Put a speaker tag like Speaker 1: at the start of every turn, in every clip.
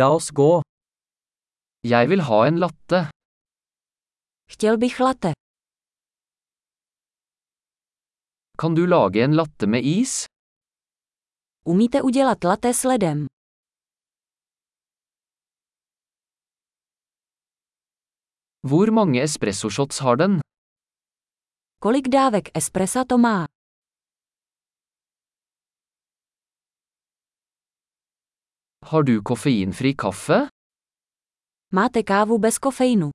Speaker 1: La oss gå. Jeg vil ha en latte.
Speaker 2: Chtěl bych latte.
Speaker 1: Kan du lage en latte med is?
Speaker 2: Umíte udělat latte s ledem?
Speaker 1: Hvor mange espressoshots har den?
Speaker 2: Kolik dávek espressa to má?
Speaker 1: Har du koffeinfri kaffe?
Speaker 2: Máte kávu bez kofeinu?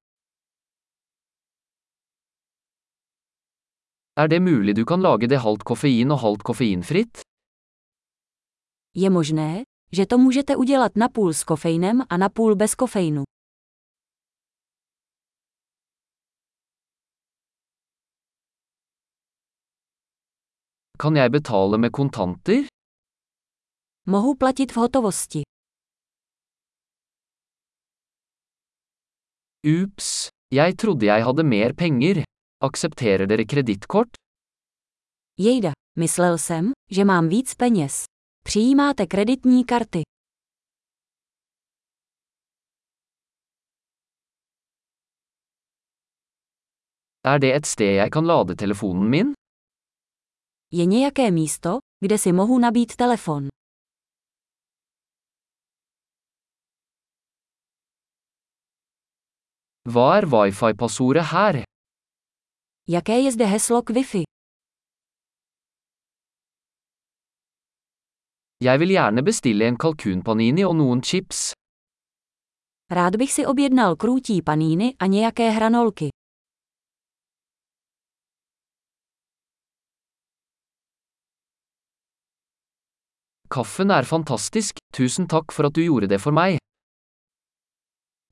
Speaker 1: Er det mulig du kan lage det halvt koffein og halvt koffeinfritt?
Speaker 2: Je možné, že to můžete udělat napůl s kofeinem a napůl bez kofeinu.
Speaker 1: Kan jeg betale med kontanter?
Speaker 2: Mohu platit v hotovosti.
Speaker 1: Ups, jeg trodde jeg hadde mer penger. Aksepterer dere kredittkort?
Speaker 2: Jejda, myslel jsem, že mám víc peněz. Přijímáte kreditní karty.
Speaker 1: Er det et sted jeg kan lade telefonen min?
Speaker 2: Je nějaké místo, kde si mohu nabít telefon.
Speaker 1: Hva er wifi-passordet her?
Speaker 2: Jaké je zde heslo k Wi-Fi?
Speaker 1: Jeg vil gjerne bestille en kalkunpanini og noen chips.
Speaker 2: Rád bych si objednal krůtí paníny a nějaké hranolky.
Speaker 1: Kaffen er fantastisk, tusen takk for at du gjorde det for meg.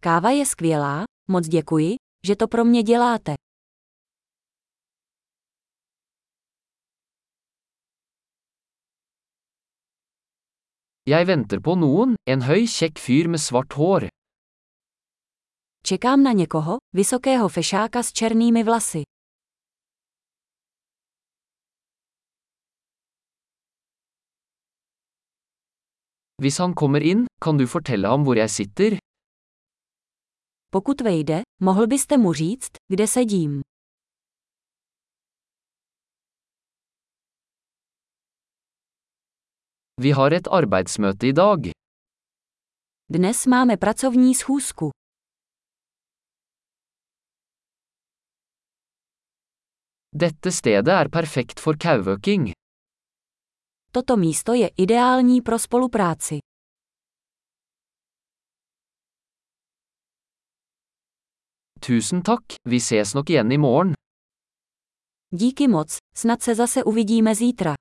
Speaker 2: Káva je skvělá, moc děkuji, že to pro mě děláte.
Speaker 1: Jeg venter på noen, en høy, kjekk fyr med svart hår.
Speaker 2: Čekám na někoho, vysokého fešáka s černými vlasy.
Speaker 1: Hvis han kommer inn, kan du fortelle ham hvor jeg sitter?
Speaker 2: Pokud vejde, mohl byste mu říct, kde sedím.
Speaker 1: Vi har et arbeidsmøte i dag.
Speaker 2: Dnes máme pracovní schůzku.
Speaker 1: Dette stedet er perfekt for kauvøking.
Speaker 2: Toto místo je ideální pro spolupráci.
Speaker 1: Tusen takk, vi ses nok igjen i morgen.
Speaker 2: Díky moc, snad se zase uvidíme zítra.